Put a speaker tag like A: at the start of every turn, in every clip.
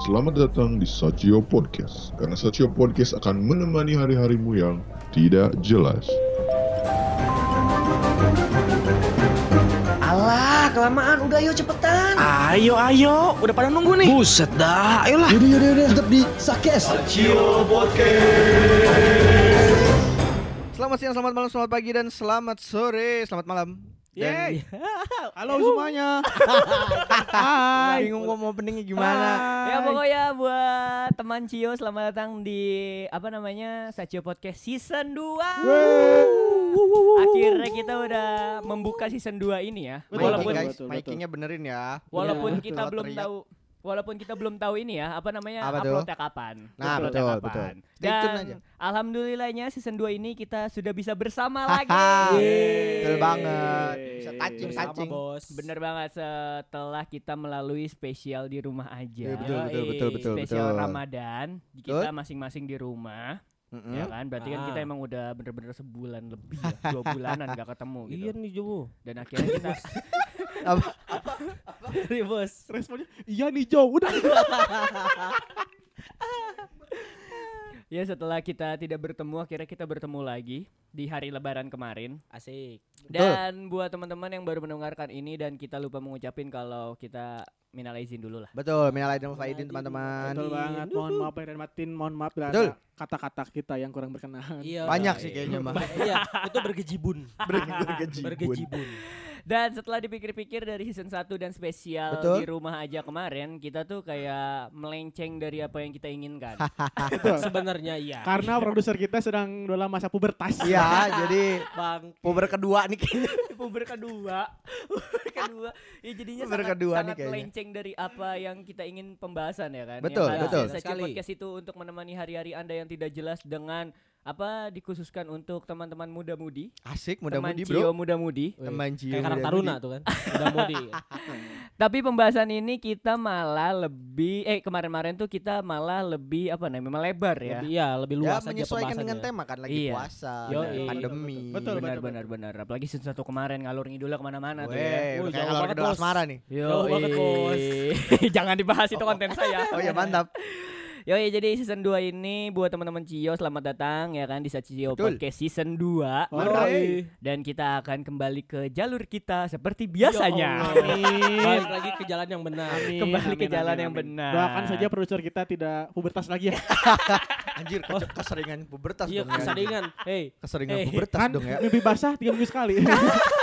A: Selamat datang di Sachio Podcast, karena Sachio Podcast akan menemani hari-harimu yang tidak jelas.
B: Alah, kelamaan. Udah ayo cepetan.
C: Ayo, ayo, udah pada nunggu nih. Buset dah, ayolah.
B: Yaudah, yaudah, yaudah. Tetap di Sakes.
D: Selamat siang, selamat malam, selamat pagi, dan selamat sore, selamat malam.
C: Yeay.
D: Dan- Halo semuanya. Hai. Bingung mau mau openingnya gimana?
E: Ya pokoknya buat teman Cio selamat datang di apa namanya Sacio Podcast Season 2 Akhirnya kita udah membuka Season 2 ini ya
D: Betul,
E: Walaupun
D: guys,
C: betul, betul.
D: mic-nya benerin ya.
E: walaupun
D: Betul.
E: kita
D: Kalau
E: belum
D: teriak.
E: tahu Walaupun kita belum tahu ini ya apa namanya
D: Apa tuh?
E: uploadnya kapan
D: Nah,
E: Uploadnya
D: betul, betul. Stay
E: Dan
D: tune aja.
E: alhamdulillahnya Season 2 ini kita sudah bisa bersama lagi
D: Haha. Iya.
E: Yeay.
D: Betul banget. Bisa touching,
E: Bersama,
D: touching.
C: bos.
E: Bener banget setelah kita melalui spesial di rumah aja.
D: Iya, betul, betul,
E: Yoi,
D: betul, betul,
E: Spesial
D: betul.
E: Ramadan kita masing-masing di rumah,
D: Mm-mm.
E: ya kan? Berarti kan kita
D: Ah.
E: emang udah bener-bener sebulan lebih, ya, dua bulanan gak ketemu gitu.
C: Iya nih Jo.
E: Dan akhirnya kita
D: Apa?
C: Sorry, bos.
D: Responnya iya nih Jo, udah.
E: ya setelah kita tidak bertemu akhirnya kita bertemu lagi di hari lebaran kemarin.
C: Asik.
E: Dan buat teman-teman yang baru mendengarkan ini dan kita lupa mengucapin kalau kita minal izin dulu lah.
D: Betul, minal aidin wal faidin teman-teman.
F: Betul banget. Mohon maaf lahir dan batin, mohon maaf bila
D: Betul.
F: ada kata-kata kita yang kurang berkenan.
C: Iya.
D: Banyak sih kayaknya mah.
C: Ba- Iya, itu bergejibun. Bergejibun.
E: Dan setelah dipikir-pikir dari season 1 dan spesial
D: Betul.
E: di rumah aja kemarin, kita tuh kayak melenceng dari apa yang kita inginkan.
C: Sebenarnya iya.
F: Karena produser kita sedang dalam masa pubertas.
D: Iya, jadi
C: Bang.
D: puber kedua nih kayaknya.
E: Puber kedua, puber kedua. Ya jadinya
D: Puber
E: sangat,
D: kedua nih
E: sangat
D: kayaknya.
E: melenceng dari apa yang kita ingin pembahasan ya kan.
D: Betul,
E: yang
D: betul.
E: Saya
C: Sekali.
E: podcast itu untuk menemani hari-hari Anda yang tidak jelas dengan apa dikhususkan untuk teman-teman muda-mudi,
D: Asik,
E: teman
D: mudah-mudahan
E: cio
D: bro.
E: muda-mudi.
D: Teman Cio.
C: Kayak karang taruna tuh kan. Udah mau di.
E: Tapi pembahasan ini kita malah lebih eh kemarin-kemarin tuh kita malah lebih apa namanya melebar ya.
C: Lebih iya, lebih
D: Ya,
C: luas aja
D: menyesuaikan dengan
C: pembahasannya.
D: tema kan lagi
E: Iya.
D: puasa,
C: Yo,
D: dan
C: iya.
D: pandemi.
F: Betul,
E: benar
F: betul,
E: benar benar apalagi season satu kemarin ngalur ngidulnya kemana-mana tuh ya
D: Weh, udah
C: Wuh,
D: kayak
C: jauh
D: ngalor
C: banget,
D: ngidul
C: Bos.
D: asmara nih.
E: Jauh banget, Bos. jangan dibahas itu konten saya
D: Oh ya mantap.
E: Yoi, jadi season 2 ini buat teman-teman Cio selamat datang ya kan di Cio
D: Betul.
E: Podcast season 2
F: Alright.
E: dan kita akan kembali ke jalur kita seperti biasanya
C: Balik lagi ke jalan yang benar.
E: Kembali ke jalan yang benar.
F: Doakan saja produser kita tidak pubertas lagi ya.
D: Anjir, kece- keseringan pubertas
C: Iya,
D: dong. ya.
C: keseringan. Hei,
D: Keseringan
C: Eh,
D: pubertas
F: kan
D: dong ya.
F: mimpi basah tiga minggu sekali.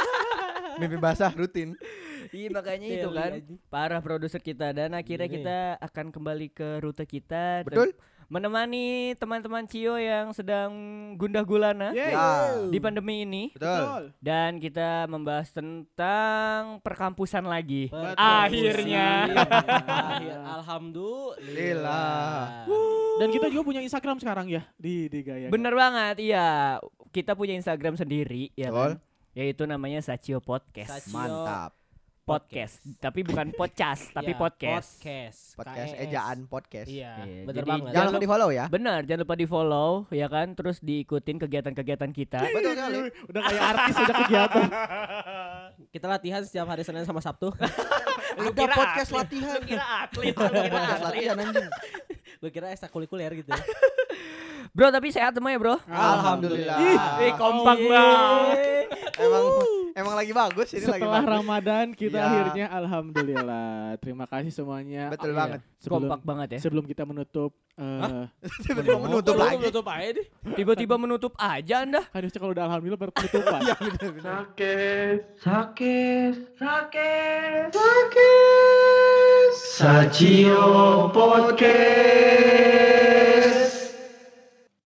D: Mimpi basah rutin.
E: Iya makanya
C: Daily
E: itu kan
C: aja.
E: para produser kita dan akhirnya
C: Iya nih.
E: kita akan kembali ke rute kita dan
D: Betul.
E: menemani teman-teman Cio yang sedang gundah gulana
F: Yeay.
D: Ya.
E: di pandemi ini
D: Betul.
E: dan kita membahas tentang perkampusan lagi.
C: Betul.
E: Akhirnya.
C: Akhir. Alhamdulillah.
F: Dan
E: gitu,
F: kita juga punya Instagram sekarang ya di di gaya.
E: Bener banget, iya. Kita punya Instagram sendiri ya
D: Betul.
E: kan. Yaitu namanya Sachio Podcast.
C: Sachio.
D: Mantap.
E: Podcast, tapi bukan podcast, tapi
C: Iya,
E: podcast.
C: Podcast.
D: Podcast
C: KES.
D: ejaan podcast.
C: Iya,
E: Iya,
C: bener
E: jadi
C: banget.
D: Jangan lupa di-follow ya.
E: Benar, jangan lupa di-follow ya kan, terus diikutin kegiatan-kegiatan kita.
D: Betul sekali.
F: Udah kayak artis udah kegiatan.
C: Kita latihan setiap hari Senin sama Sabtu.
D: Ada podcast latihan.
E: Kira atlet,
D: Podcast latihan anjing.
C: Gue kira ekstrakurikuler gitu.
E: Bro, tapi sehat semua ya, Bro?
D: Alhamdulillah.
E: Ih, kompak
D: Oh, iya.
E: banget.
D: Emang emang lagi bagus ini lagi
F: Setelah
D: bagus.
F: Ramadan kita
D: Ya.
F: akhirnya alhamdulillah. Terima kasih semuanya.
D: Betul
F: Iya.
D: banget.
F: Sebelum
E: Kompak banget ya.
F: sebelum kita menutup eh
D: Tiba-tiba mau menutup
C: Lu
D: lagi.
C: Menutup aja deh.
E: Tiba-tiba menutup aja Anda.
F: harusnya kan kalau udah alhamdulillah baru penutupan.
D: Iya,
B: Sakes. Sachio Podcast.